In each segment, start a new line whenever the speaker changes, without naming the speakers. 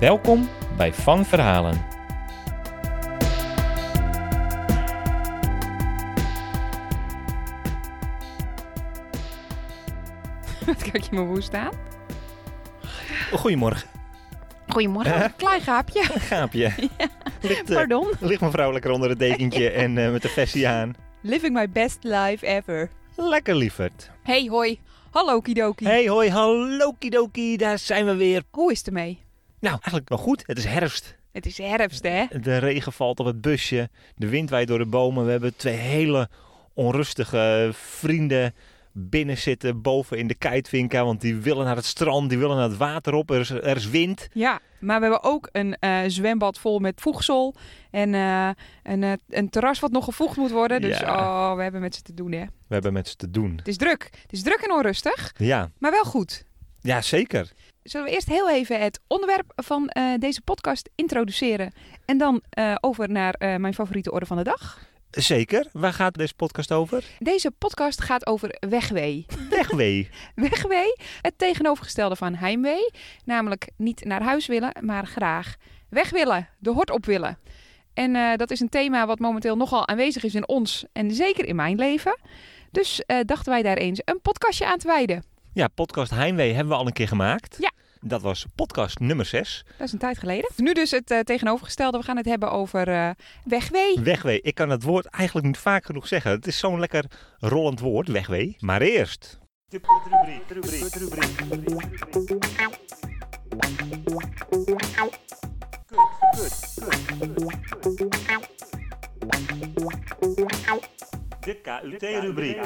Welkom bij Van Verhalen.
Wat kijk je me woest aan?
Goedemorgen,
Goedemorgen, klein gaapje.
gaapje. Ligt, eh,
Pardon.
ligt mevrouw lekker onder het dekentje en eh, met de vestie aan.
Living my best life ever.
Lekker lieverd.
Hey, hoi. Hallo, Kidoki.
Hey hoi, hallo kidoki, daar zijn we weer.
Hoe is het ermee?
Nou, eigenlijk wel goed, het is herfst.
Het is herfst, hè?
De regen valt op het busje. De wind waait door de bomen. We hebben twee hele onrustige vrienden binnen zitten boven in de kijtvinken. Want die willen naar het strand, die willen naar het water op. Er is, er is wind.
Ja, maar we hebben ook een eh, zwembad vol met voegsel. En eh, een, eh, een terras wat nog gevoegd moet worden. Dus
Ja.
oh, we hebben met ze te doen, hè?
We hebben met ze te doen.
Het is druk. Het is druk en onrustig,
Ja,
maar wel goed.
ja zeker.
Zullen we eerst heel even het onderwerp van eh, deze podcast introduceren. En dan eh, over naar eh, mijn favoriete orde van de dag.
Zeker. Waar gaat deze podcast over?
Deze podcast gaat over wegwee.
Wegwee.
Wegwee, het tegenovergestelde van heimwee. Namelijk niet naar huis willen, maar graag weg willen. De hort op willen. En eh, dat is een thema wat momenteel nogal aanwezig is in ons en zeker in mijn leven. Dus eh, dachten wij daar eens een podcastje aan te wijden.
Ja, podcast Heimwee hebben we al een keer gemaakt.
Ja.
Dat was podcast nummer 6.
Dat is een tijd geleden. Nu dus het eh, tegenovergestelde. We gaan het hebben over eh, wegwee.
Wegwee. Ik kan het woord eigenlijk niet vaak genoeg zeggen. Het is zo'n lekker rollend woord, wegwee. Maar eerst. De KUT-rubriek.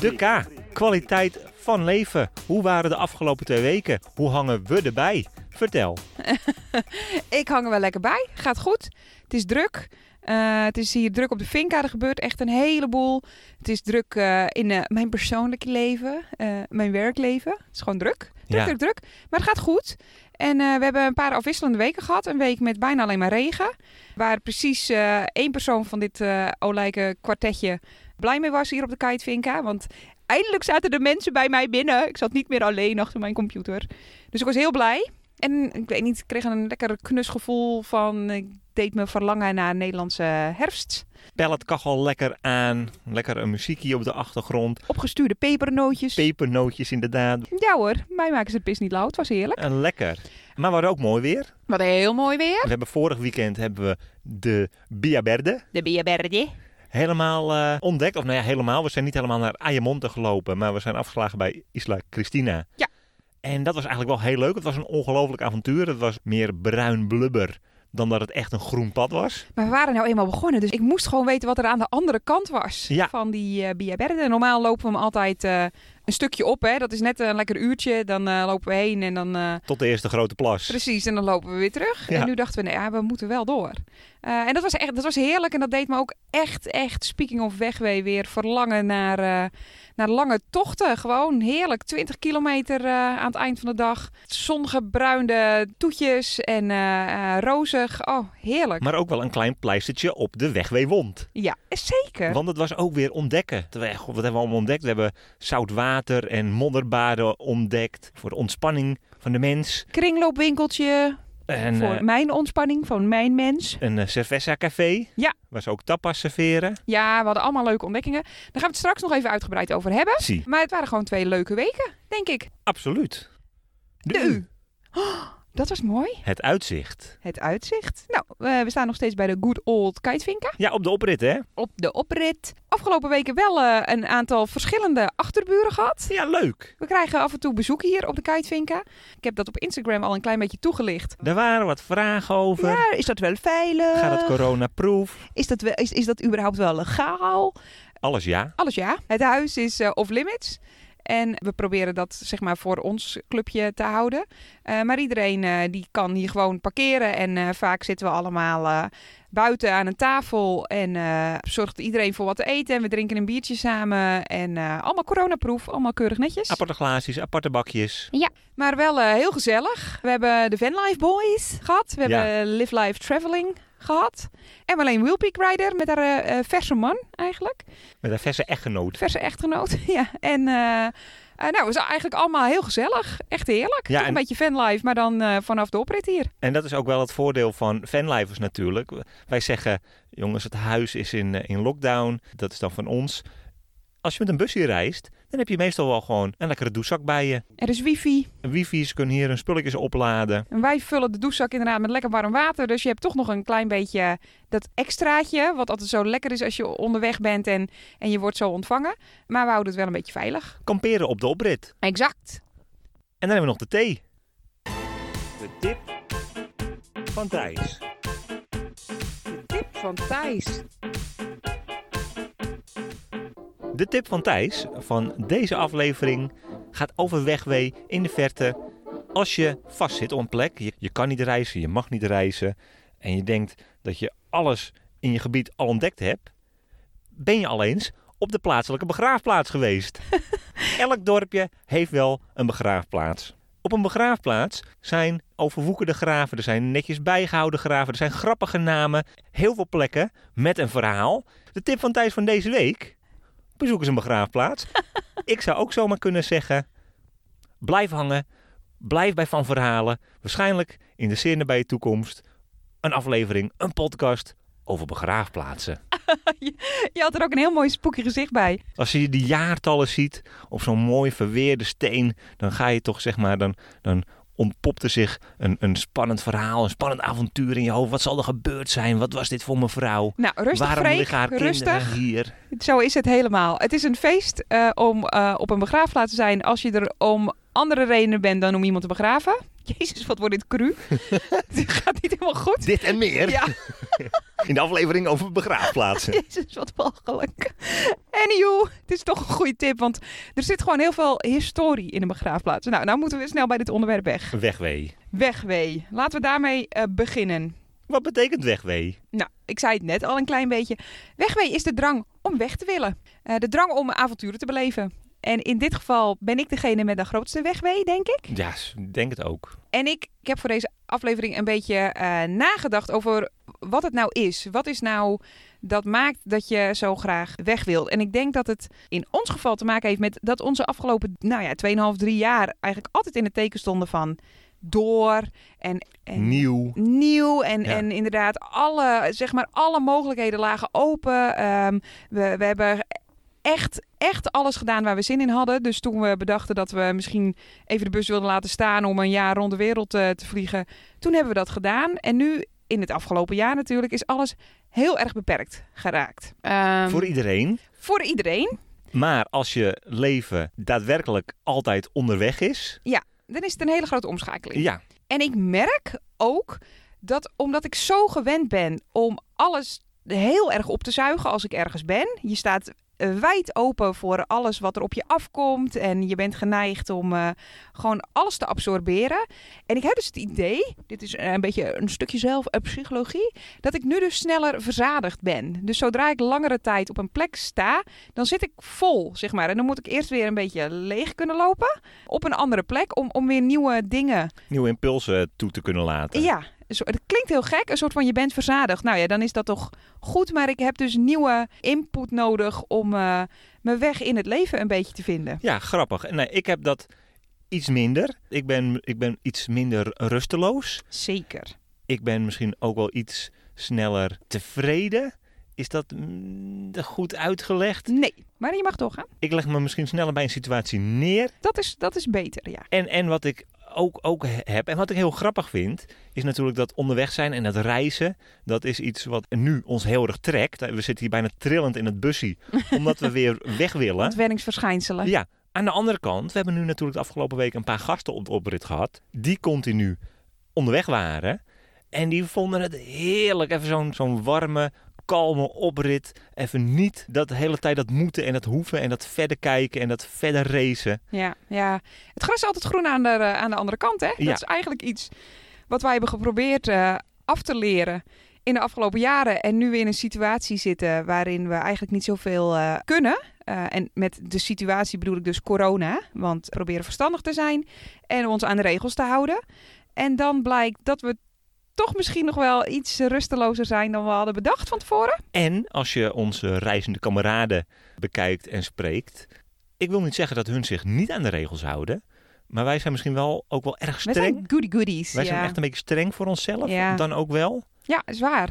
De K. Kwaliteit van leven. Hoe waren de afgelopen twee weken? Hoe hangen we erbij? Vertel.
Ik hang er wel lekker bij. Gaat goed. Het is druk. Eh, het is hier druk op de Vinka. Er gebeurt echt een heleboel. Het is druk eh, in eh, mijn persoonlijke leven, eh, mijn werkleven. Het is gewoon druk. Druk,
Ja.
druk, druk. Maar het gaat goed. En eh, we hebben een paar afwisselende weken gehad. Een week met bijna alleen maar regen. Waar precies eh, één persoon van dit eh olijke kwartetje blij mee was hier op de Kitevinka. Want eindelijk zaten de mensen bij mij binnen. Ik zat niet meer alleen achter mijn computer. Dus ik was heel blij. En ik weet niet, ik kreeg een lekker knusgevoel van... Ik deed me verlangen naar Nederlandse herfst.
Pelletkachel lekker aan. Lekker een muziekje op de achtergrond.
Opgestuurde pepernootjes.
Pepernootjes inderdaad.
ja hoor, mij maken ze het pis niet lauw. Het was heerlijk.
En lekker. Maar we hadden ook mooi weer.
Wat heel mooi weer.
We hebben vorig weekend hebben we de Via Verde
De Biaberde.
helemaal eh, ontdekt. Of nou ja, helemaal. We zijn niet helemaal naar Ayamonte gelopen, maar we zijn afgeslagen bij Isla Cristina.
Ja.
En dat was eigenlijk wel heel leuk. Het was een ongelooflijk avontuur. Het was meer bruin blubber dan dat het echt een groen pad was.
Maar we waren nou eenmaal begonnen, dus ik moest gewoon weten wat er aan de andere kant was
Ja.
van die eh Biaberde. Normaal lopen we hem altijd eh, een stukje op, hè. dat is net een lekker uurtje. Dan eh, lopen we heen en dan eh,
Tot de eerste grote plas.
Precies, en dan lopen we weer terug.
Ja.
En nu dachten we, nee, ja, we moeten wel door. Eh, en dat was, echt, dat was heerlijk en dat deed me ook echt, echt, speaking of wegwee, weer verlangen naar, eh, naar lange tochten. Gewoon heerlijk, 20 kilometer eh, aan het eind van de dag. Zongebruinde toetjes en eh, eh, rozig. Oh, heerlijk.
Maar ook wel een klein pleistertje op de wegweewond.
Ja, zeker.
Want het was ook weer ontdekken. Terwijl, goh, Wat hebben we allemaal ontdekt? We hebben zout water en modderbaden ontdekt. Voor de ontspanning van de mens.
Kringloopwinkeltje
En,
voor
eh,
mijn ontspanning, van mijn mens.
een eh, cerveza café.
Ja.
Waar ze ook tapas serveren.
Ja, we hadden allemaal leuke ontdekkingen. Daar gaan we het straks nog even uitgebreid over hebben.
Zie,
Maar het waren gewoon twee leuke weken, denk ik.
absoluut.
De U. Oh, dat was mooi.
Het uitzicht.
Het uitzicht. Nou, eh, we staan nog steeds bij de good old kitevinka.
Ja, op de oprit hè?
Op de oprit. Afgelopen weken wel eh, een aantal verschillende achterburen gehad.
Ja, leuk.
We krijgen af en toe bezoek hier op de kitevinka. Ik heb dat op Instagram al een klein beetje toegelicht.
Er waren wat vragen over.
Ja, is dat wel veilig?
Gaat het coronaproof?
is, dat wel, is, is dat überhaupt wel legaal?
Alles ja.
Alles ja. Het huis is eh, off-limits. En we proberen dat zeg maar voor ons clubje te houden. Eh, maar iedereen eh, die kan hier gewoon parkeren. En eh, vaak zitten we allemaal eh, buiten aan een tafel. En eh, zorgt iedereen voor wat te eten. En we drinken een biertje samen. En eh, allemaal coronaproof. Allemaal keurig netjes.
Aparte glaasjes, aparte bakjes.
Maar wel eh, heel gezellig. We hebben de Vanlife Boys gehad. We
Ja.
hebben Live Life Traveling gehad. En Marleen Wilpeak Rider met haar eh, eh, verse man eigenlijk.
Met een verse echtgenoot.
Verse echtgenoot. ja. En eh, eh, nou, het is eigenlijk allemaal heel gezellig. Echt heerlijk.
Ja,
Toch
en-
Een beetje Vanlife, maar dan eh, vanaf de oprit hier.
En dat is ook wel het voordeel van fanlivers natuurlijk. Wij zeggen, jongens, het huis is in, eh, in lockdown. Dat is dan van ons. Als je met een busje reist, dan heb je meestal wel gewoon een lekkere douchezak bij je.
Er is wifi.
Wifi's kunnen hier hun spulletjes opladen.
En wij vullen de douchezak inderdaad met lekker warm water. Dus je hebt toch nog een klein beetje dat extraatje. Wat altijd zo lekker is als je onderweg bent en, en je wordt zo ontvangen. Maar we houden het wel een beetje veilig.
Kamperen op de oprit.
Exact.
En dan hebben we nog de thee. De tip van Thijs.
De tip van Thijs.
De tip van Thijs van deze aflevering gaat over wegwee in de verte. Als je vastzit op een plek, je, je kan niet reizen, je mag niet reizen en je denkt dat je alles in je gebied al ontdekt hebt, ben je al eens op de plaatselijke begraafplaats geweest. Elk dorpje heeft wel een begraafplaats. Op een begraafplaats zijn overwoekerde graven, er zijn netjes bijgehouden graven, er zijn grappige namen, heel veel plekken met een verhaal. De tip van Thijs van deze week bezoek eens een begraafplaats. ik zou ook zomaar kunnen zeggen: blijf hangen, blijf bij van verhalen. Waarschijnlijk in de zeer nabije toekomst een aflevering, een podcast over begraafplaatsen.
Je had er ook een heel mooi spooky gezicht bij.
Als je die jaartallen ziet op zo'n mooi verweerde steen, dan ga je toch zeg maar, dan, dan ontpopte zich een, een spannend verhaal, een spannend avontuur in je hoofd. Wat zal er gebeurd zijn? Wat was dit voor mijn vrouw?
Nou, rustig
Waarom
Freek,
liggen haar
rustig.
kinderen hier?
Zo is het helemaal. Het is een feest eh, om eh, op een begraafplaats te zijn als je er om andere redenen bent dan om iemand te begraven. Jezus, wat wordt dit cru. dit gaat niet helemaal goed.
Dit en meer
Ja,
in de aflevering over begraafplaatsen.
jezus, wat walgelijk. Anywho, het is toch een goede tip, want er zit gewoon heel veel historie in een begraafplaats. Nou, nou moeten we snel bij dit onderwerp weg.
Wegwee.
Wegwee. Laten we daarmee eh, beginnen.
Wat betekent wegwee?
Nou, ik zei het net al een klein beetje. Wegwee is de drang om weg te willen. Eh, de drang om avonturen te beleven. En in dit geval ben ik degene met de grootste wegwee, denk ik.
Ja, s- ik denk het ook.
En ik, ik heb voor deze aflevering een beetje eh, nagedacht over wat het nou is. Wat is nou dat maakt dat je zo graag weg wilt? En ik denk dat het in ons geval te maken heeft met dat onze afgelopen, nou ja, 2,5, 3 jaar eigenlijk altijd in het teken stonden van door en, en
Nieuw.
nieuw en,
Ja.
en inderdaad alle, zeg maar, alle mogelijkheden lagen open. Ehm, we, we hebben echt, echt alles gedaan waar we zin in hadden. Dus toen we bedachten dat we misschien even de bus wilden laten staan om een jaar rond de wereld eh, te vliegen, toen hebben we dat gedaan. En nu, in het afgelopen jaar natuurlijk, is alles heel erg beperkt geraakt. Ehm,
Voor iedereen.
voor iedereen.
Maar als je leven daadwerkelijk altijd onderweg is.
Dan is het een hele grote omschakeling.
Ja,
En ik merk ook dat omdat ik zo gewend ben om alles heel erg op te zuigen als ik ergens ben. Je staat eh, wijd open voor alles wat er op je afkomt. En je bent geneigd om eh, gewoon alles te absorberen. En ik heb dus het idee, dit is eh, een beetje een stukje zelf eh, psychologie, dat ik nu dus sneller verzadigd ben. Dus zodra ik langere tijd op een plek sta, dan zit ik vol, zeg maar. En dan moet ik eerst weer een beetje leeg kunnen lopen op een andere plek om, om weer nieuwe dingen
nieuwe impulsen toe te kunnen laten.
ja, een soort- het klinkt heel gek. Een soort van je bent verzadigd. Nou ja, dan is dat toch goed. Maar ik heb dus nieuwe input nodig om eh, mijn weg in het leven een beetje te vinden.
Ja, grappig. En Nee, ik heb dat iets minder. Ik ben, ik ben iets minder rusteloos.
Zeker.
Ik ben misschien ook wel iets sneller tevreden. Is dat mm, goed uitgelegd?
Nee, maar je mag doorgaan.
Ik leg me misschien sneller bij een situatie neer.
Dat is, dat is beter, ja.
En, en wat ik ook, ook he- heb, en wat ik heel grappig vind, is natuurlijk dat onderweg zijn en dat reizen, dat is iets wat nu ons heel erg trekt. We zitten hier bijna trillend in het busje, omdat we weer weg willen.
Ontwenningsverschijnselen.
Ja, aan de andere kant, we hebben nu natuurlijk de afgelopen week een paar gasten op de oprit gehad, die continu onderweg waren. En die vonden het heerlijk, even zo'n zo'n warme, kalme oprit. Even niet dat de hele tijd dat moeten en dat hoeven en dat verder kijken en dat verder racen.
Ja, ja. Het gras is altijd groen aan de, eh, aan de andere kant, hè?
Ja.
Dat is eigenlijk iets wat wij hebben geprobeerd eh, af te leren in de afgelopen jaren. En nu we in een situatie zitten waarin we eigenlijk niet zoveel eh, kunnen. Eh, en met de situatie bedoel ik dus corona. Want we proberen verstandig te zijn en ons aan de regels te houden. En dan blijkt dat we toch misschien nog wel iets rustelozer zijn dan we hadden bedacht van tevoren.
En als je onze reizende kameraden bekijkt en spreekt. Ik wil niet zeggen dat hun zich niet aan de regels houden. Maar wij zijn misschien wel ook wel erg
We
streng.
zijn goody goodies.
Wij zijn
ja.
echt een beetje streng voor onszelf.
Ja.
Dan ook wel.
Ja, is waar.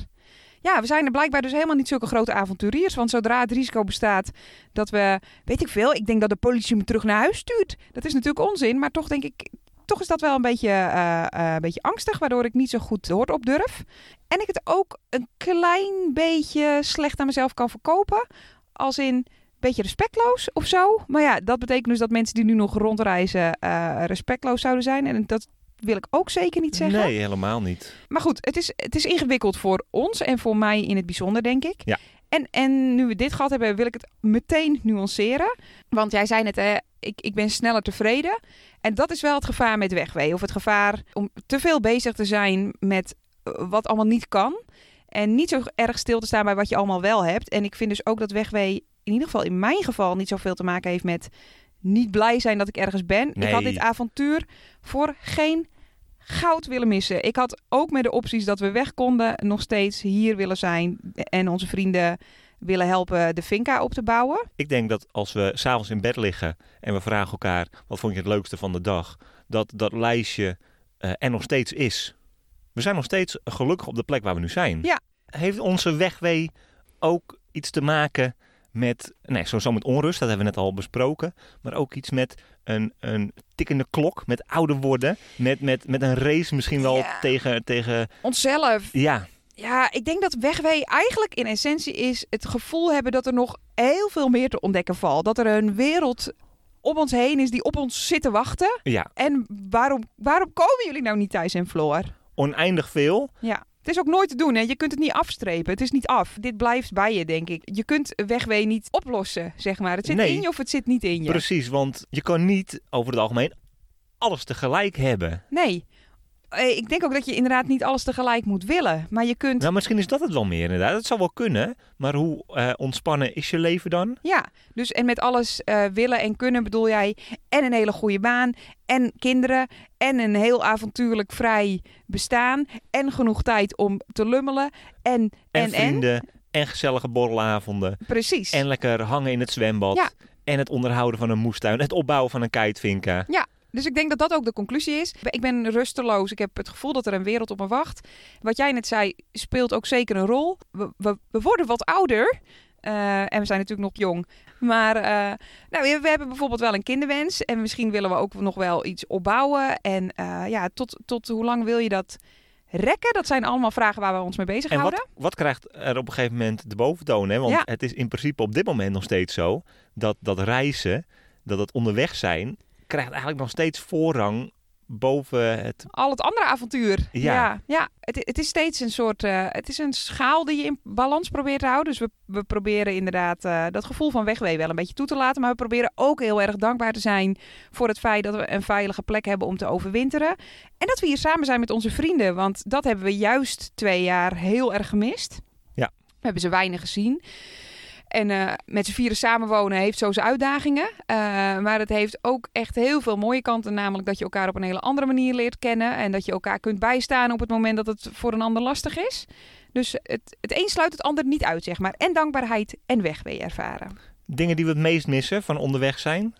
Ja, we zijn er blijkbaar dus helemaal niet zulke grote avonturiers. Want zodra het risico bestaat dat we, weet ik veel, ik denk dat de politie me terug naar huis stuurt. Dat is natuurlijk onzin, maar toch denk ik, toch is dat wel een beetje, eh, eh, een beetje angstig, waardoor ik niet zo goed de hoort op durf. En ik het ook een klein beetje slecht aan mezelf kan verkopen. Als in, beetje respectloos of zo. Maar ja, dat betekent dus dat mensen die nu nog rondreizen eh, respectloos zouden zijn. En dat wil ik ook zeker niet zeggen.
Nee, helemaal niet.
Maar goed, het is, het is ingewikkeld voor ons en voor mij in het bijzonder, denk ik.
Ja.
En, en nu we dit gehad hebben, wil ik het meteen nuanceren. Want jij zei net, hè, ik, ik ben sneller tevreden. En dat is wel het gevaar met wegwee. Of het gevaar om te veel bezig te zijn met eh, wat allemaal niet kan. En niet zo erg stil te staan bij wat je allemaal wel hebt. En ik vind dus ook dat wegwee, in ieder geval in mijn geval, niet zoveel te maken heeft met niet blij zijn dat ik ergens ben. Ik had
Nee.
dit avontuur voor geen goud willen missen. Ik had ook met de opties dat we weg konden nog steeds hier willen zijn en onze vrienden willen helpen de finca op te bouwen.
Ik denk dat als we s'avonds in bed liggen en we vragen elkaar wat vond je het leukste van de dag, dat dat lijstje eh, er nog steeds is. We zijn nog steeds gelukkig op de plek waar we nu zijn.
Ja.
Heeft onze wegwee ook iets te maken met, nee, sowieso met onrust, dat hebben we net al besproken, maar ook iets met een, een tikkende klok, met ouder worden, met, met, met een race misschien wel
Ja.
tegen, tegen,
Onszelf.
ja,
Ja, ik denk dat wegwee eigenlijk in essentie is het gevoel hebben dat er nog heel veel meer te ontdekken valt. Dat er een wereld om ons heen is die op ons zit te wachten.
ja,
En waarom, waarom komen jullie nou niet Thijs en Floor?
oneindig veel.
Ja. Het is ook nooit te doen, hè? Je kunt het niet afstrepen. Het is niet af. Dit blijft bij je, denk ik. Je kunt wegwee niet oplossen, zeg maar. Het zit
Nee.
in je of het zit niet in je.
Precies, want je kan niet over het algemeen alles tegelijk hebben.
Nee. Eh, Ik denk ook dat je inderdaad niet alles tegelijk moet willen. Maar je kunt.
Nou, misschien is dat het wel meer inderdaad. Dat zou wel kunnen. Maar hoe eh, ontspannen is je leven dan?
Ja, dus en met alles eh, willen en kunnen bedoel jij. En een hele goede baan. En kinderen. En een heel avontuurlijk vrij bestaan. En genoeg tijd om te lummelen. En,
En,
en, en.
vrienden, en? gezellige borrelavonden.
Precies.
En lekker hangen in het zwembad.
Ja.
En het onderhouden van een moestuin. Het opbouwen van een kitevinka.
Dus ik denk dat dat ook de conclusie is. Ik ben rusteloos. Ik heb het gevoel dat er een wereld op me wacht. Wat jij net zei, speelt ook zeker een rol. We, we, we worden wat ouder. Eh, en we zijn natuurlijk nog jong. Maar eh, nou, we, we hebben bijvoorbeeld wel een kinderwens. En misschien willen we ook nog wel iets opbouwen. En eh, ja, tot, tot hoe lang wil je dat rekken? Dat zijn allemaal vragen waar we ons mee
En
bezighouden.
wat, wat krijgt er op een gegeven moment de boventoon? Hè? Want
Ja.
het is in principe op dit moment nog steeds zo dat dat reizen, dat het onderweg zijn, krijgt eigenlijk nog steeds voorrang boven het
al het andere avontuur.
Ja.
ja, Het, het is steeds een soort. eh, het is een schaal die je in balans probeert te houden. Dus we, we proberen inderdaad eh, dat gevoel van wegwee wel een beetje toe te laten. Maar we proberen ook heel erg dankbaar te zijn voor het feit dat we een veilige plek hebben om te overwinteren. En dat we hier samen zijn met onze vrienden. Want dat hebben we juist twee jaar heel erg gemist.
Ja.
We hebben ze weinig gezien. En eh, met z'n vieren samenwonen heeft zo zijn uitdagingen. Eh, maar het heeft ook echt heel veel mooie kanten. Namelijk dat je elkaar op een hele andere manier leert kennen. En dat je elkaar kunt bijstaan op het moment dat het voor een ander lastig is. Dus het, het een sluit het ander niet uit, zeg maar. En dankbaarheid en wegwee ervaren.
dingen die we het meest missen van onderweg zijn?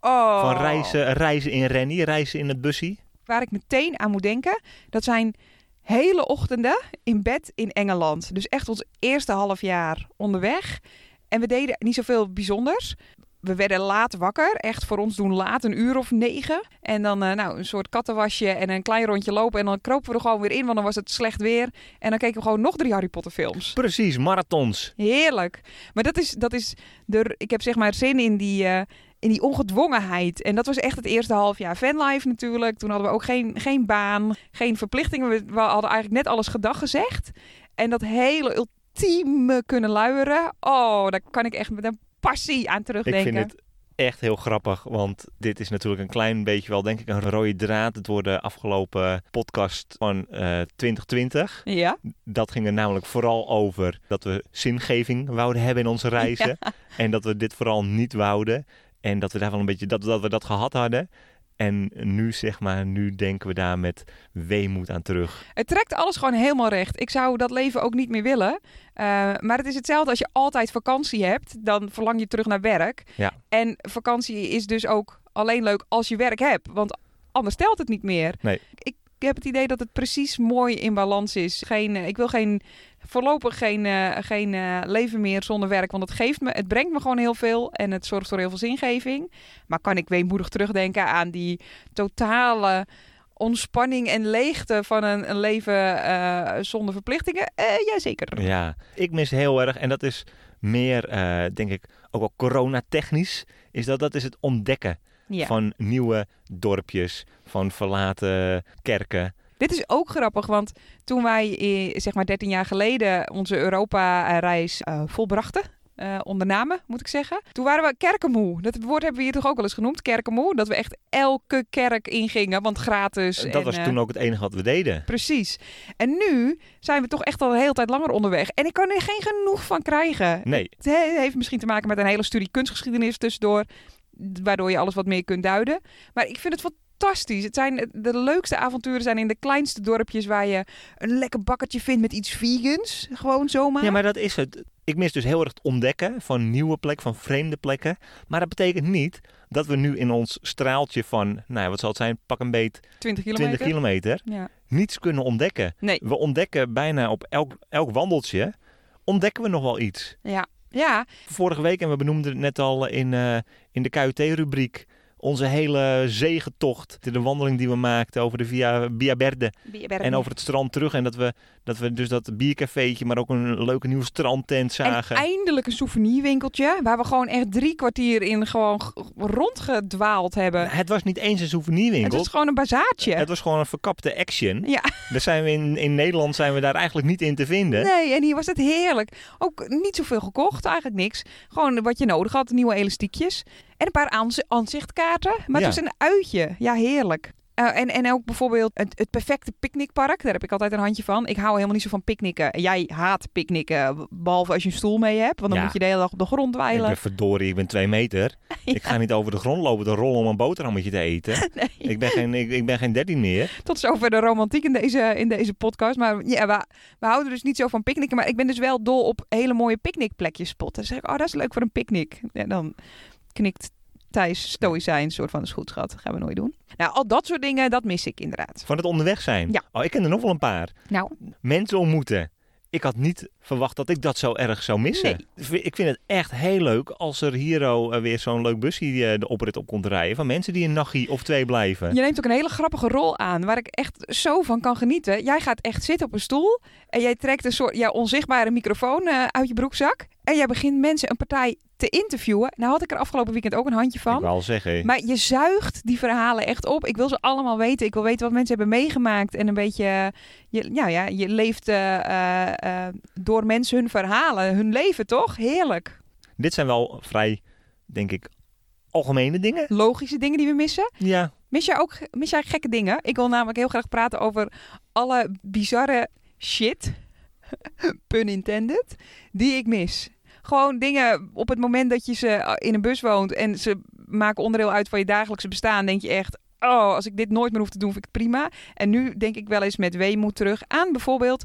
Oh.
Van reizen, reizen in Rennie, reizen in het bussie.
waar ik meteen aan moet denken, dat zijn hele ochtenden in bed in Engeland. Dus echt ons eerste half jaar onderweg. En we deden niet zoveel bijzonders. We werden laat wakker, echt voor ons doen laat, een uur of negen. En dan eh, nou, een soort kattenwasje en een klein rondje lopen. En dan kropen we er gewoon weer in, want dan was het slecht weer. En dan keken we gewoon nog drie Harry Potter films.
Precies, marathons.
Heerlijk. Maar dat is, dat is de, ik heb zeg maar zin in die, eh, in die ongedwongenheid. En dat was echt het eerste half jaar fanlife natuurlijk. Toen hadden we ook geen, geen baan, geen verplichtingen. We, we hadden eigenlijk net alles gedag gezegd. En dat hele ultieme kunnen luieren. Oh, daar kan ik echt met een passie aan terugdenken.
Ik vind het echt heel grappig, want dit is natuurlijk een klein beetje wel, denk ik, een rode draad. Het wordt de afgelopen podcast van eh, 2020.
Ja,
Dat ging er namelijk vooral over dat we zingeving wouden hebben in onze reizen. En dat we dit vooral niet wouden. En dat we daar wel een beetje dat, dat we dat gehad hadden. En nu zeg maar, nu denken we daar met weemoed aan terug.
het trekt alles gewoon helemaal recht. Ik zou dat leven ook niet meer willen. Eh, maar het is hetzelfde als je altijd vakantie hebt, dan verlang je terug naar werk.
Ja.
En vakantie is dus ook alleen leuk als je werk hebt, want anders telt het niet meer.
Nee.
Ik heb het idee dat het precies mooi in balans is. Geen, eh, ik wil geen, voorlopig geen, eh, geen eh, leven meer zonder werk, want het, geeft me, het brengt me gewoon heel veel en het zorgt voor heel veel zingeving. Maar kan ik weemoedig terugdenken aan die totale ontspanning en leegte van een, een leven eh, zonder verplichtingen? Eh jazeker.
Ja, ik mis heel erg, en dat is meer, eh, denk ik, ook wel coronatechnisch, is dat dat is het ontdekken
Ja.
van nieuwe dorpjes, van verlaten kerken.
Dit is ook grappig, want toen wij eh, zeg maar 13 jaar geleden onze Europa-reis eh, volbrachten, eh, ondernamen moet ik zeggen, toen waren we kerkenmoe. Dat woord hebben we hier toch ook wel eens genoemd, kerkenmoe? Dat we echt elke kerk ingingen, want gratis.
dat
en,
was
eh,
toen ook het enige wat we deden.
Precies. En nu zijn we toch echt al een hele tijd langer onderweg. En ik kan er geen genoeg van krijgen.
Nee,
Het he- heeft misschien te maken met een hele studie kunstgeschiedenis tussendoor, d- waardoor je alles wat meer kunt duiden. Maar ik vind het fantastisch. Het zijn de leukste avonturen zijn in de kleinste dorpjes waar je een lekker bakkertje vindt met iets vegans, gewoon zomaar.
Ja, maar dat is het. Ik mis dus heel erg het ontdekken van nieuwe plekken, van vreemde plekken. Maar dat betekent niet dat we nu in ons straaltje van, nou ja, wat zal het zijn, pak een beet
20 kilometer.
20 kilometer,
Ja.
niets kunnen ontdekken.
Nee.
We ontdekken bijna op elk, elk wandeltje, ontdekken we nog wel iets.
Ja. Ja,
Vorige week, en we benoemden het net al in, eh, in de KUT-rubriek, onze hele zegentocht, de wandeling die we maakten over de Via, Via Verde. En over het strand terug. En dat we, dat we dus dat biercafeetje, maar ook een leuke nieuwe strandtent
en
zagen.
eindelijk een souvenirwinkeltje waar we gewoon echt drie kwartier in gewoon g- rondgedwaald hebben.
Het was niet eens een
het
souvenirwinkel.
is gewoon een bazaartje.
Het was gewoon een verkapte action.
Ja.
Daar zijn we in, in Nederland zijn we daar eigenlijk niet in te vinden.
Nee, en hier was het heerlijk. Ook niet zoveel gekocht, eigenlijk niks. Gewoon wat je nodig had, nieuwe elastiekjes. En een paar aanz- aanzichtkaarten. Maar het
Ja.
was een uitje. Ja, heerlijk. Eh, en, en ook bijvoorbeeld het, het perfecte picknickpark. Daar heb ik altijd een handje van. Ik hou helemaal niet zo van picknicken. En Jij haat picknicken, behalve als je een stoel mee hebt. Want dan
Ja.
moet je de hele dag op de grond
Ik
dweilen.
ben verdorie, ik ben twee meter. Ik ga niet over de grond lopen te rollen om een boterhammetje te eten.
Nee.
Ik ben geen, ik, ik ben geen dertien meer.
Tot zover de romantiek in deze, in deze podcast. Maar ja, we, we houden dus niet zo van picknicken. Maar ik ben dus wel dol op hele mooie picknickplekjes spotten. Dan zeg ik, oh, dat is leuk voor een picknick. En dan knikt Thijs stoïcijn, soort van, is goed schat, gaan we nooit doen. Nou, al dat soort dingen, dat mis ik inderdaad.
Van het onderweg zijn.
Ja.
Oh, ik ken er nog wel een paar.
Nou,
Mensen ontmoeten. Ik had niet verwacht dat ik dat zo erg zou missen. Ik vind het echt heel leuk als er hier oh, eh, weer zo'n leuk busje eh, de oprit op komt rijden. Van mensen die een nachtje of twee blijven.
je neemt ook een hele grappige rol aan, waar ik echt zo van kan genieten. Jij gaat echt zitten op een stoel en jij trekt een soort jouw onzichtbare microfoon eh, uit je broekzak. En jij begint mensen een partij te interviewen. Nou had ik er afgelopen weekend ook een handje van.
Ik wou al zeggen.
Maar je zuigt die verhalen echt op. Ik wil ze allemaal weten. Ik wil weten wat mensen hebben meegemaakt. En een beetje, eh, je, ja, ja, je leeft eh, eh, eh, door mensen hun verhalen, hun leven toch? Heerlijk.
Dit zijn wel vrij, denk ik, algemene dingen.
Logische dingen die we missen.
Ja.
Mis jij ook mis jij gekke dingen? Ik wil namelijk heel graag praten over alle bizarre shit, pun intended, die ik mis. Gewoon dingen op het moment dat je ze eh, in een bus woont en ze maken onderdeel uit van je dagelijkse bestaan, denk je echt, oh, als ik dit nooit meer hoef te doen, vind ik het prima. En nu denk ik wel eens met weemoed terug aan bijvoorbeeld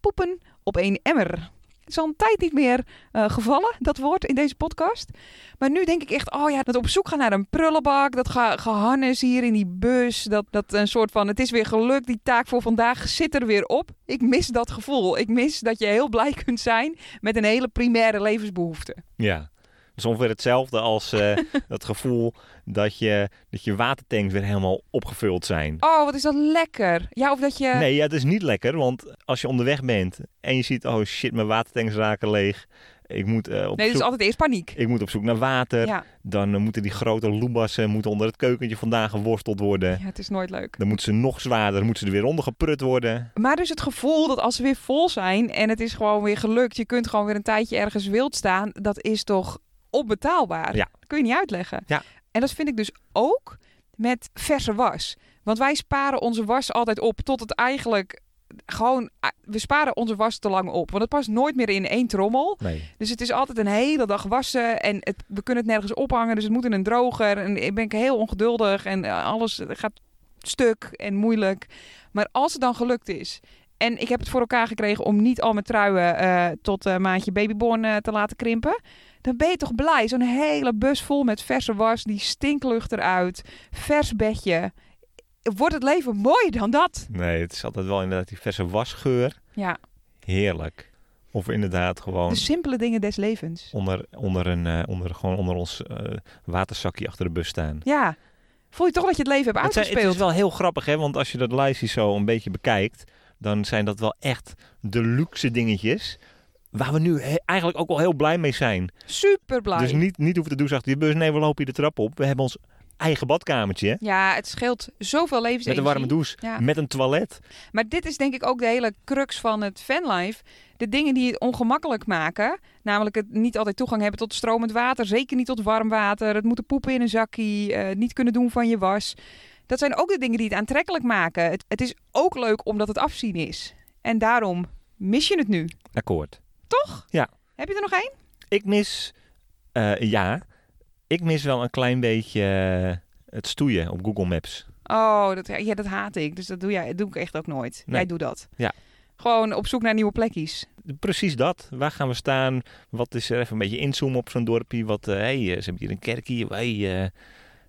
poepen op één emmer. Het is al een tijd niet meer eh, gevallen, dat woord, in deze podcast. Maar nu denk ik echt, oh ja, dat op zoek gaan naar een prullenbak, dat ga, gehannes hier in die bus, dat, dat een soort van, het is weer gelukt, die taak voor vandaag zit er weer op. Ik mis dat gevoel. Ik mis dat je heel blij kunt zijn met een hele primaire levensbehoefte.
Ja. Dat is ongeveer hetzelfde als eh het gevoel dat je, dat je watertanks weer helemaal opgevuld zijn.
Oh, wat is dat lekker. Ja, of dat je...
Nee, ja, het is niet lekker, want als je onderweg bent en je ziet, oh shit, mijn watertanks raken leeg. Ik moet, eh, op
Nee, dus
zoek,
altijd eerst paniek.
ik moet op zoek naar water.
Ja.
Dan eh, moeten die grote loebas eh, moeten onder het keukentje vandaan geworsteld worden.
ja, het is nooit leuk.
Dan moeten ze nog zwaarder, dan moeten ze er weer onder geprut worden.
Maar dus het gevoel dat als ze weer vol zijn en het is gewoon weer gelukt, je kunt gewoon weer een tijdje ergens wild staan, dat is toch onbetaalbaar.
Ja.
Dat kun je niet uitleggen.
Ja.
En dat vind ik dus ook met verse was. Want wij sparen onze was altijd op tot het eigenlijk gewoon, eh, we sparen onze was te lang op. Want het past nooit meer in één trommel.
Nee.
Dus het is altijd een hele dag wassen en het, we kunnen het nergens ophangen. Dus het moet in een droger. En ik ben heel ongeduldig en eh, alles gaat stuk en moeilijk. Maar als het dan gelukt is. En ik heb het voor elkaar gekregen om niet al mijn truien eh, tot eh, maandje babyborn eh, te laten krimpen. Dan ben je toch blij. Zo'n hele bus vol met verse was, die stinklucht eruit, vers bedje. Wordt het leven mooier dan dat?
Nee, het is altijd wel inderdaad die verse wasgeur.
Ja,
Heerlijk. Of inderdaad gewoon
de simpele dingen des levens.
onder, onder, een, eh, onder, gewoon onder ons eh, waterzakje achter de bus staan.
Ja, voel je toch dat je het leven hebt
Het, zijn- het
uitgespeeld?
is wel heel grappig, hè? Want als je dat lijstje zo een beetje bekijkt, dan zijn dat wel echt de luxe dingetjes. Waar we nu he- eigenlijk ook wel heel blij mee zijn.
Super blij.
Dus niet, niet hoeven te douchen achter je bus. Nee, we lopen hier de trap op. We hebben ons eigen badkamertje. hè,
Ja, het scheelt zoveel levensenergie.
Met een warme douche.
Ja.
Met een toilet.
Maar dit is denk ik ook de hele crux van het fanlife. De dingen die het ongemakkelijk maken. Namelijk het niet altijd toegang hebben tot stromend water. Zeker niet tot warm water. Het moeten poepen in een zakkie. eh, het niet kunnen doen van je was. Dat zijn ook de dingen die het aantrekkelijk maken. Het, het is ook leuk omdat het afzien is. En daarom mis je het nu.
Akkoord.
Toch?
Ja.
Heb je er nog één?
Ik mis, eh, ja, ik mis wel een klein beetje eh, het stoeien op Google Maps.
Oh, dat, ja, dat haat ik. Dus dat doe, jij, dat doe ik echt ook nooit.
Nee.
Jij doet dat.
Ja.
Gewoon op zoek naar nieuwe plekjes.
Precies dat. Waar gaan we staan? Wat is er? Even een beetje inzoomen op zo'n dorpje. Wat, eh, hey, eh, ze hebben hier een kerk hier. Hey, eh,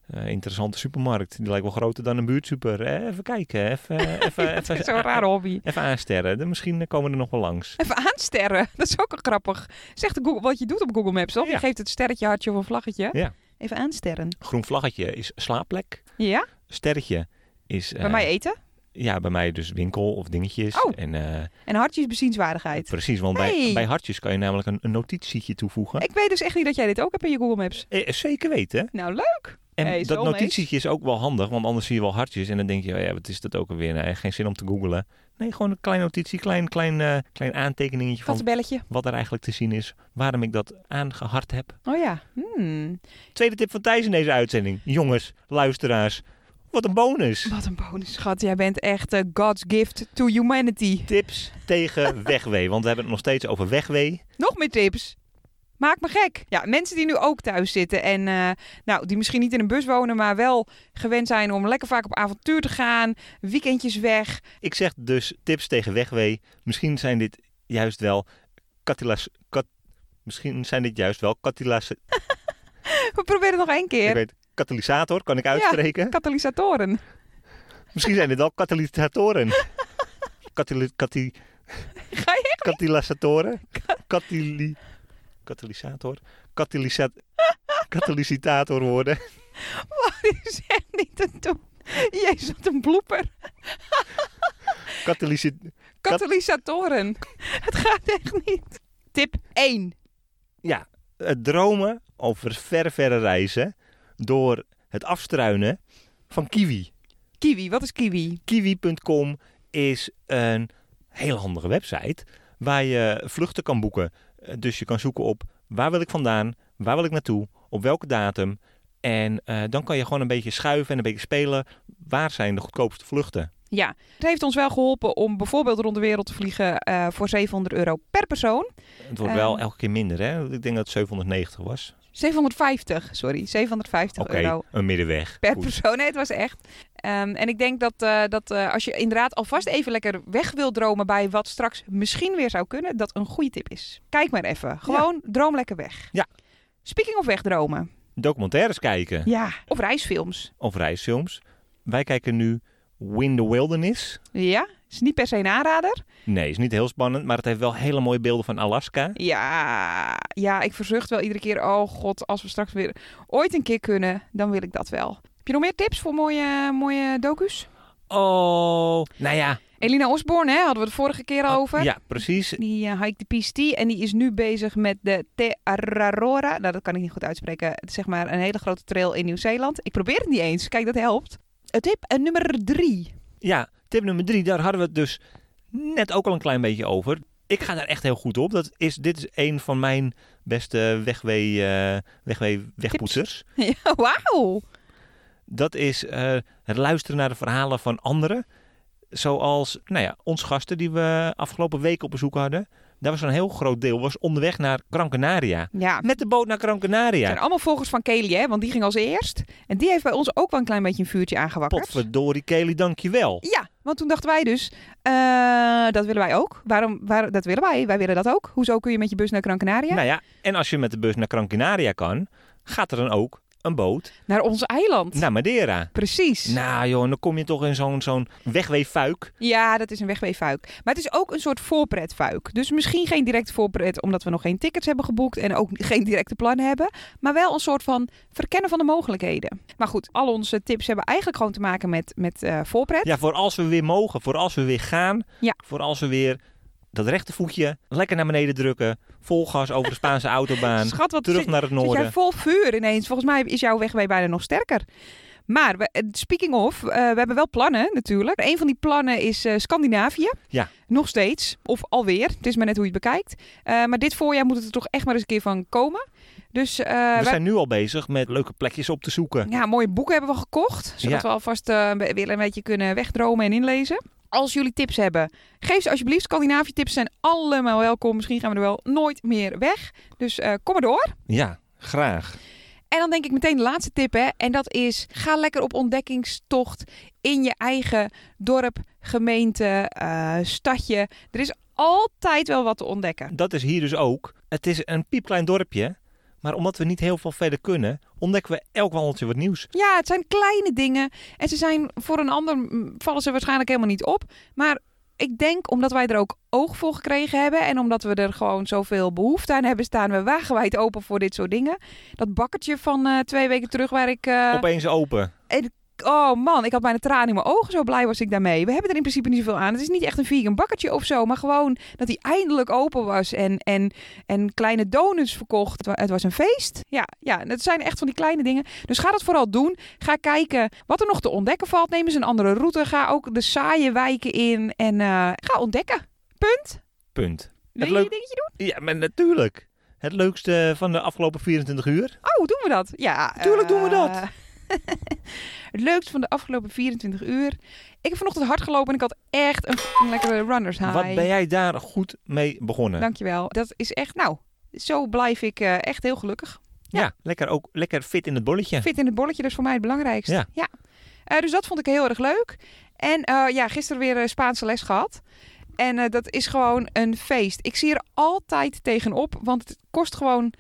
eh, interessante supermarkt. Die lijkt wel groter dan een buurtsuper. Eh, even kijken. Even, eh, even,
Dat
even,
is zo'n rare hobby.
even aansterren. Dan Misschien eh, komen we er nog wel langs.
Even aansterren. Dat is ook een grappig. Zegt Google wat je doet op Google Maps, toch?
Ja.
Je geeft het sterretje, hartje of een vlaggetje.
Ja.
Even aansterren.
Groen vlaggetje is slaapplek.
Ja,
Sterretje is... eh,
bij mij eten.
Ja, bij mij dus winkel of dingetjes.
Oh.
En, eh,
En hartjes bezienswaardigheid.
Precies, want bij,
Hey.
bij hartjes kan je namelijk een, een notitietje toevoegen.
Ik weet dus echt niet dat jij dit ook hebt in je Google Maps.
Eh, zeker weten.
Nou, leuk.
En
Hey,
dat
zo, mees.
notitietje is ook wel handig, want anders zie je wel hartjes en dan denk je, oh ja, wat is dat ook alweer? Nee, geen zin om te googlen. Nee, gewoon een klein notitie, klein, klein, eh, klein aantekeningetje van
Kattenbelletje.
wat er eigenlijk te zien is, waarom ik dat aangehard heb.
Oh ja. Hmm.
Tweede tip van Thijs in deze uitzending. Jongens, luisteraars, wat een bonus.
Wat een bonus, schat. Jij bent echt eh, God's gift to humanity.
Tips tegen wegwee, want we hebben het nog steeds over wegwee.
Nog meer tips. Maak me gek. Ja, mensen die nu ook thuis zitten en eh, nou, die misschien niet in een bus wonen, maar wel gewend zijn om lekker vaak op avontuur te gaan, weekendjes weg.
Ik zeg dus tips tegen wegwee. Misschien zijn dit juist wel katilas... Kat, misschien zijn dit juist wel katilas...
We proberen het nog één
Ik
keer.
weet, katalysator, kan ik uitspreken.
Katalysatoren.
Misschien zijn dit wel katalysatoren. Katali... Kati,
Ga je?
katalysatoren? Katali... Katalysator? Katalysat... Katalysitator worden.
Dit is echt niet te doen. Jezus, wat een blooper.
Katalysit...
Katalysatoren. Het gaat echt niet. Tip 1.
Ja, het eh, dromen over ver, verre reizen door het afstruinen van kiwi.
Kiwi, wat is kiwi?
Kiwi.com is een heel handige website waar je vluchten kan boeken. Eh, Dus je kan zoeken op waar wil ik vandaan, waar wil ik naartoe, op welke datum. En eh, dan kan je gewoon een beetje schuiven en een beetje spelen. Waar zijn de goedkoopste vluchten?
Ja, het heeft ons wel geholpen om bijvoorbeeld rond de wereld te vliegen eh, voor 700 euro per persoon.
Het wordt
Eh.
wel elke keer minder, hè? Ik denk dat het 790 was.
750, sorry, 750
Oké,
euro
een middenweg.
nou, per
Goed.
persoon. Nee, het was echt. Ehm, en ik denk dat, eh, dat eh, als je inderdaad alvast even lekker weg wil dromen bij wat straks misschien weer zou kunnen, dat een goede tip is. Kijk maar even. Gewoon droom lekker weg.
Ja.
Speaking of wegdromen.
Documentaires kijken
Ja. Of reisfilms.
of reisfilms. Wij kijken nu Win the Wilderness.
Ja. Is niet per se een aanrader.
Nee, is niet heel spannend, maar het heeft wel hele mooie beelden van Alaska.
Ja. Ja, ik verzucht wel iedere keer. Oh god, als we straks weer ooit een keer kunnen, dan wil ik dat wel. Heb je nog meer tips voor mooie, mooie docu's?
Oh, nou ja,
Elina Osborne, hè, hadden we de vorige keer over.
Oh, Ja, precies.
Die eh hike de PST en die is nu bezig met de Te Ararora. Nou, dat kan ik niet goed uitspreken. Het is zeg maar een hele grote trail in Nieuw-Zeeland. Ik probeer het niet eens. Kijk, dat helpt. Eh, Tip eh, nummer drie.
Ja, tip nummer drie, daar hadden we het dus net ook al een klein beetje over. Ik ga daar echt heel goed op. Dat is, dit is een van mijn beste wegwee, eh, wegwee, wegpoetsers.
Ja, Wauw.
Dat is eh, het luisteren naar de verhalen van anderen. Zoals nou ja, ons gasten die we afgelopen week op bezoek hadden. Daar was een heel groot deel was onderweg naar Gran Canaria.
Ja.
Met de boot naar Gran
Het
Canaria.
zijn allemaal volgers van Kelly, hè? Want die ging als eerst. En die heeft bij ons ook wel een klein beetje een vuurtje aangewakkerd.
Potverdorie Kelly, dankjewel.
Ja, want toen dachten wij dus, eh, dat willen wij ook. Waarom, waar, dat willen wij, wij willen dat ook. Hoezo kun je met je bus naar Gran Canaria?
Nou ja, en als je met de bus naar Gran Canaria kan, gaat er dan ook een boot
Naar ons eiland.
naar Madeira.
Precies.
Nou joh, en dan kom je toch in zo'n zo'n wegweeffuik.
Ja, dat is een wegweefvuik. Maar het is ook een soort voorpretvuik. Dus misschien geen direct voorpret, omdat we nog geen tickets hebben geboekt en ook geen directe plannen hebben. Maar wel een soort van verkennen van de mogelijkheden. Maar goed, al onze tips hebben eigenlijk gewoon te maken met, met eh, voorpret.
Ja, voor als we weer mogen, voor als we weer gaan.
Ja.
Voor als we weer dat rechtervoetje lekker naar beneden drukken. Vol gas over de Spaanse autobaan.
Schat, wat
Terug
zit,
naar het
zit
noorden.
jij eh, vol vuur ineens. Volgens mij is jouw wegwee bijna nog sterker. Maar, we- eh, speaking of, eh, we hebben wel plannen natuurlijk. Een van die plannen is eh, Scandinavië.
Ja.
Nog steeds. Of alweer. Het is maar net hoe je het bekijkt. Eh, maar dit voorjaar moet het er toch echt maar eens een keer van komen. Dus eh, wij-
we zijn nu al bezig met leuke plekjes op te zoeken.
Ja, mooie boeken hebben we gekocht. Zodat
Ja.
we alvast eh, be- weer een beetje kunnen wegdromen en inlezen. Als jullie tips hebben, geef ze alsjeblieft. Scandinavië tips zijn allemaal welkom. Misschien gaan we er wel nooit meer weg. Dus eh, kom maar door.
Ja, graag.
En dan denk ik meteen de laatste tip. Hè, en dat is, ga lekker op ontdekkingstocht in je eigen dorp, gemeente, eh, stadje. Er is altijd wel wat te ontdekken.
Dat is hier dus ook. Het is een piepklein dorpje. Maar omdat we niet heel veel verder kunnen, ontdekken we elk wandeltje wat nieuws.
Ja, het zijn kleine dingen. En ze zijn voor een ander mm, vallen ze waarschijnlijk helemaal niet op. Maar ik denk omdat wij er ook oog voor gekregen hebben. En omdat we er gewoon zoveel behoefte aan hebben, staan we wagenwijd open voor dit soort dingen. Dat bakkertje van eh, twee weken terug waar ik. eh,
Opeens open.
Oh man, ik had bijna tranen in mijn ogen. Zo blij was ik daarmee. We hebben er in principe niet zoveel aan. Het is niet echt een vegan bakkertje of zo. Maar gewoon dat hij eindelijk open was. En, en, en kleine donuts verkocht. Het wa- Het was een feest. Ja, ja, en het zijn echt van die kleine dingen. Dus ga dat vooral doen. Ga kijken wat er nog te ontdekken valt. Neem eens een andere route. Ga ook de saaie wijken in. En eh, ga ontdekken. Punt.
Punt.
Wil je
leuk-
je dingetje doen?
Ja, maar natuurlijk. Het leukste van de afgelopen 24 uur.
Oh, doen we dat? Ja.
Tuurlijk doen we dat.
eh, het leukste van de afgelopen 24 uur. Ik heb vanochtend hard gelopen en ik had echt een f***ing lekkere runners high.
Wat ben jij daar goed mee begonnen?
Dankjewel. Dat is echt, nou, zo blijf ik eh, echt heel gelukkig.
ja. lekker ook lekker fit in het bolletje.
Fit in het bolletje, dat is voor mij het belangrijkste.
Ja.
Eh, dus dat vond ik heel erg leuk. En eh, ja, gisteren weer eh, Spaanse les gehad. En eh, dat is gewoon een feest. Ik zie er altijd tegenop, want het kost gewoon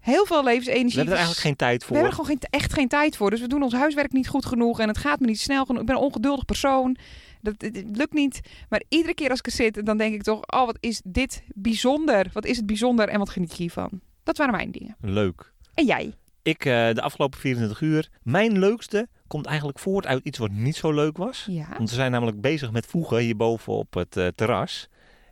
heel veel
We
levensenergie.
hebben er eigenlijk geen tijd
We
voor.
hebben er gewoon geen, echt geen tijd voor. Dus we doen ons huiswerk niet goed genoeg. En het gaat me niet snel genoeg. Ik ben een ongeduldig persoon. Dat, het, het lukt niet. Maar iedere keer als ik er zit, dan denk ik toch... Oh, wat is dit bijzonder. Wat is het bijzonder en wat geniet ik hiervan. Dat waren mijn dingen.
Leuk.
En jij?
Ik, eh, de afgelopen 24 uur, mijn leukste komt eigenlijk voort uit iets wat niet zo leuk was.
Ja.
Want we zijn namelijk bezig met voegen hierboven op het eh, terras.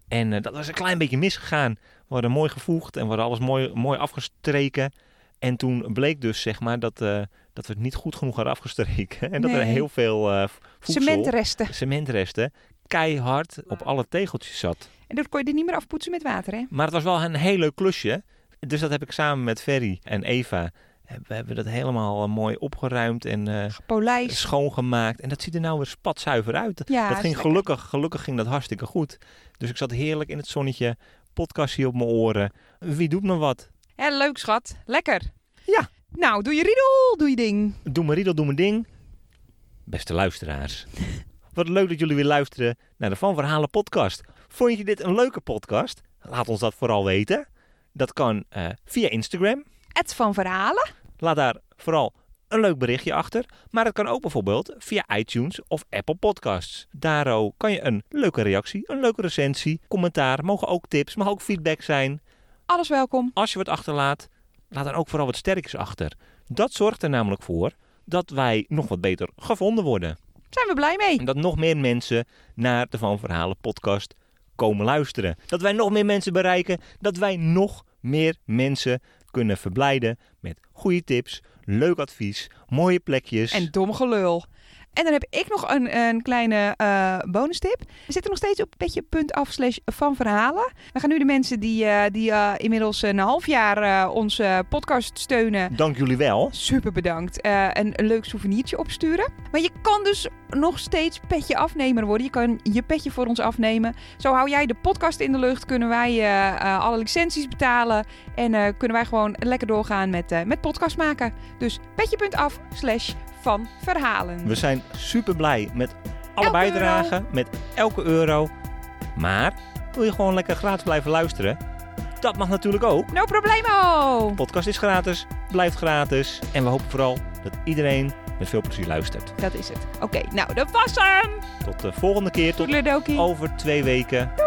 En eh, dat was een klein beetje misgegaan. We hadden mooi gevoegd en we hadden alles mooi, mooi afgestreken. En toen bleek dus zeg maar dat, eh, dat we het niet goed genoeg hadden afgestreken. En dat er
Nee.
heel veel eh voedsel,
Cementresten.
cementresten, keihard op alle tegeltjes zat.
En dat kon je er niet meer afpoetsen met water, hè?
Maar het was wel een heel leuk klusje. Dus dat heb ik samen met Ferry en Eva. eh, We hebben dat helemaal eh, mooi opgeruimd en eh,
Polijst.
schoongemaakt. En dat ziet er nou weer spatzuiver uit.
Ja,
dat
is
ging
lekker.
gelukkig, gelukkig ging dat hartstikke goed. Dus ik zat heerlijk in het zonnetje, podcastje op mijn oren. Wie doet me wat?
Hè, leuk, schat. Lekker.
Ja.
Nou, doe je riedel, doe je ding.
Doe mijn riedel, doe mijn ding. Beste luisteraars. wat leuk dat jullie weer luisteren naar de Van Verhalen podcast. Vond je dit een leuke podcast? Laat ons dat vooral weten. Dat kan eh, via Instagram.
Het van verhalen.
Laat daar vooral een leuk berichtje achter. Maar het kan ook bijvoorbeeld via iTunes of Apple Podcasts. Daarom kan je een leuke reactie, een leuke recensie, commentaar. Mogen ook tips, mag ook feedback zijn.
Alles welkom.
Als je wat achterlaat, laat dan ook vooral wat sterkjes achter. Dat zorgt er namelijk voor dat wij nog wat beter gevonden worden.
zijn we blij mee.
dat nog meer mensen naar de Van Verhalen podcast komen luisteren. Dat wij nog meer mensen bereiken. Dat wij nog meer mensen kunnen verblijden met goede tips, leuk advies, mooie plekjes.
En dom gelul. En dan heb ik nog een, een kleine eh bonus tip. We zitten nog steeds op petje.af slash van verhalen. We gaan nu de mensen die, eh, die eh, inmiddels een half jaar eh, onze podcast steunen.
Dank jullie wel.
Super bedankt. eh, een leuk souvenirtje opsturen. Maar je kan dus nog steeds petje afnemer worden. Je kan je petje voor ons afnemen. Zo hou jij de podcast in de lucht. Kunnen wij eh, eh, alle licenties betalen. En eh, kunnen wij gewoon lekker doorgaan met, eh, met podcast maken. Dus petje.af slash van verhalen.
We zijn super blij met alle
Elke
bijdragen, met elke euro. Maar wil je gewoon lekker gratis blijven luisteren? Dat mag natuurlijk ook.
No problemo!
Podcast is gratis, blijft gratis. En we hopen vooral dat iedereen met veel plezier luistert.
Dat is het. Oké, nou dat was hem!
Tot de volgende keer. Tot
Toedeledokie.
over twee weken.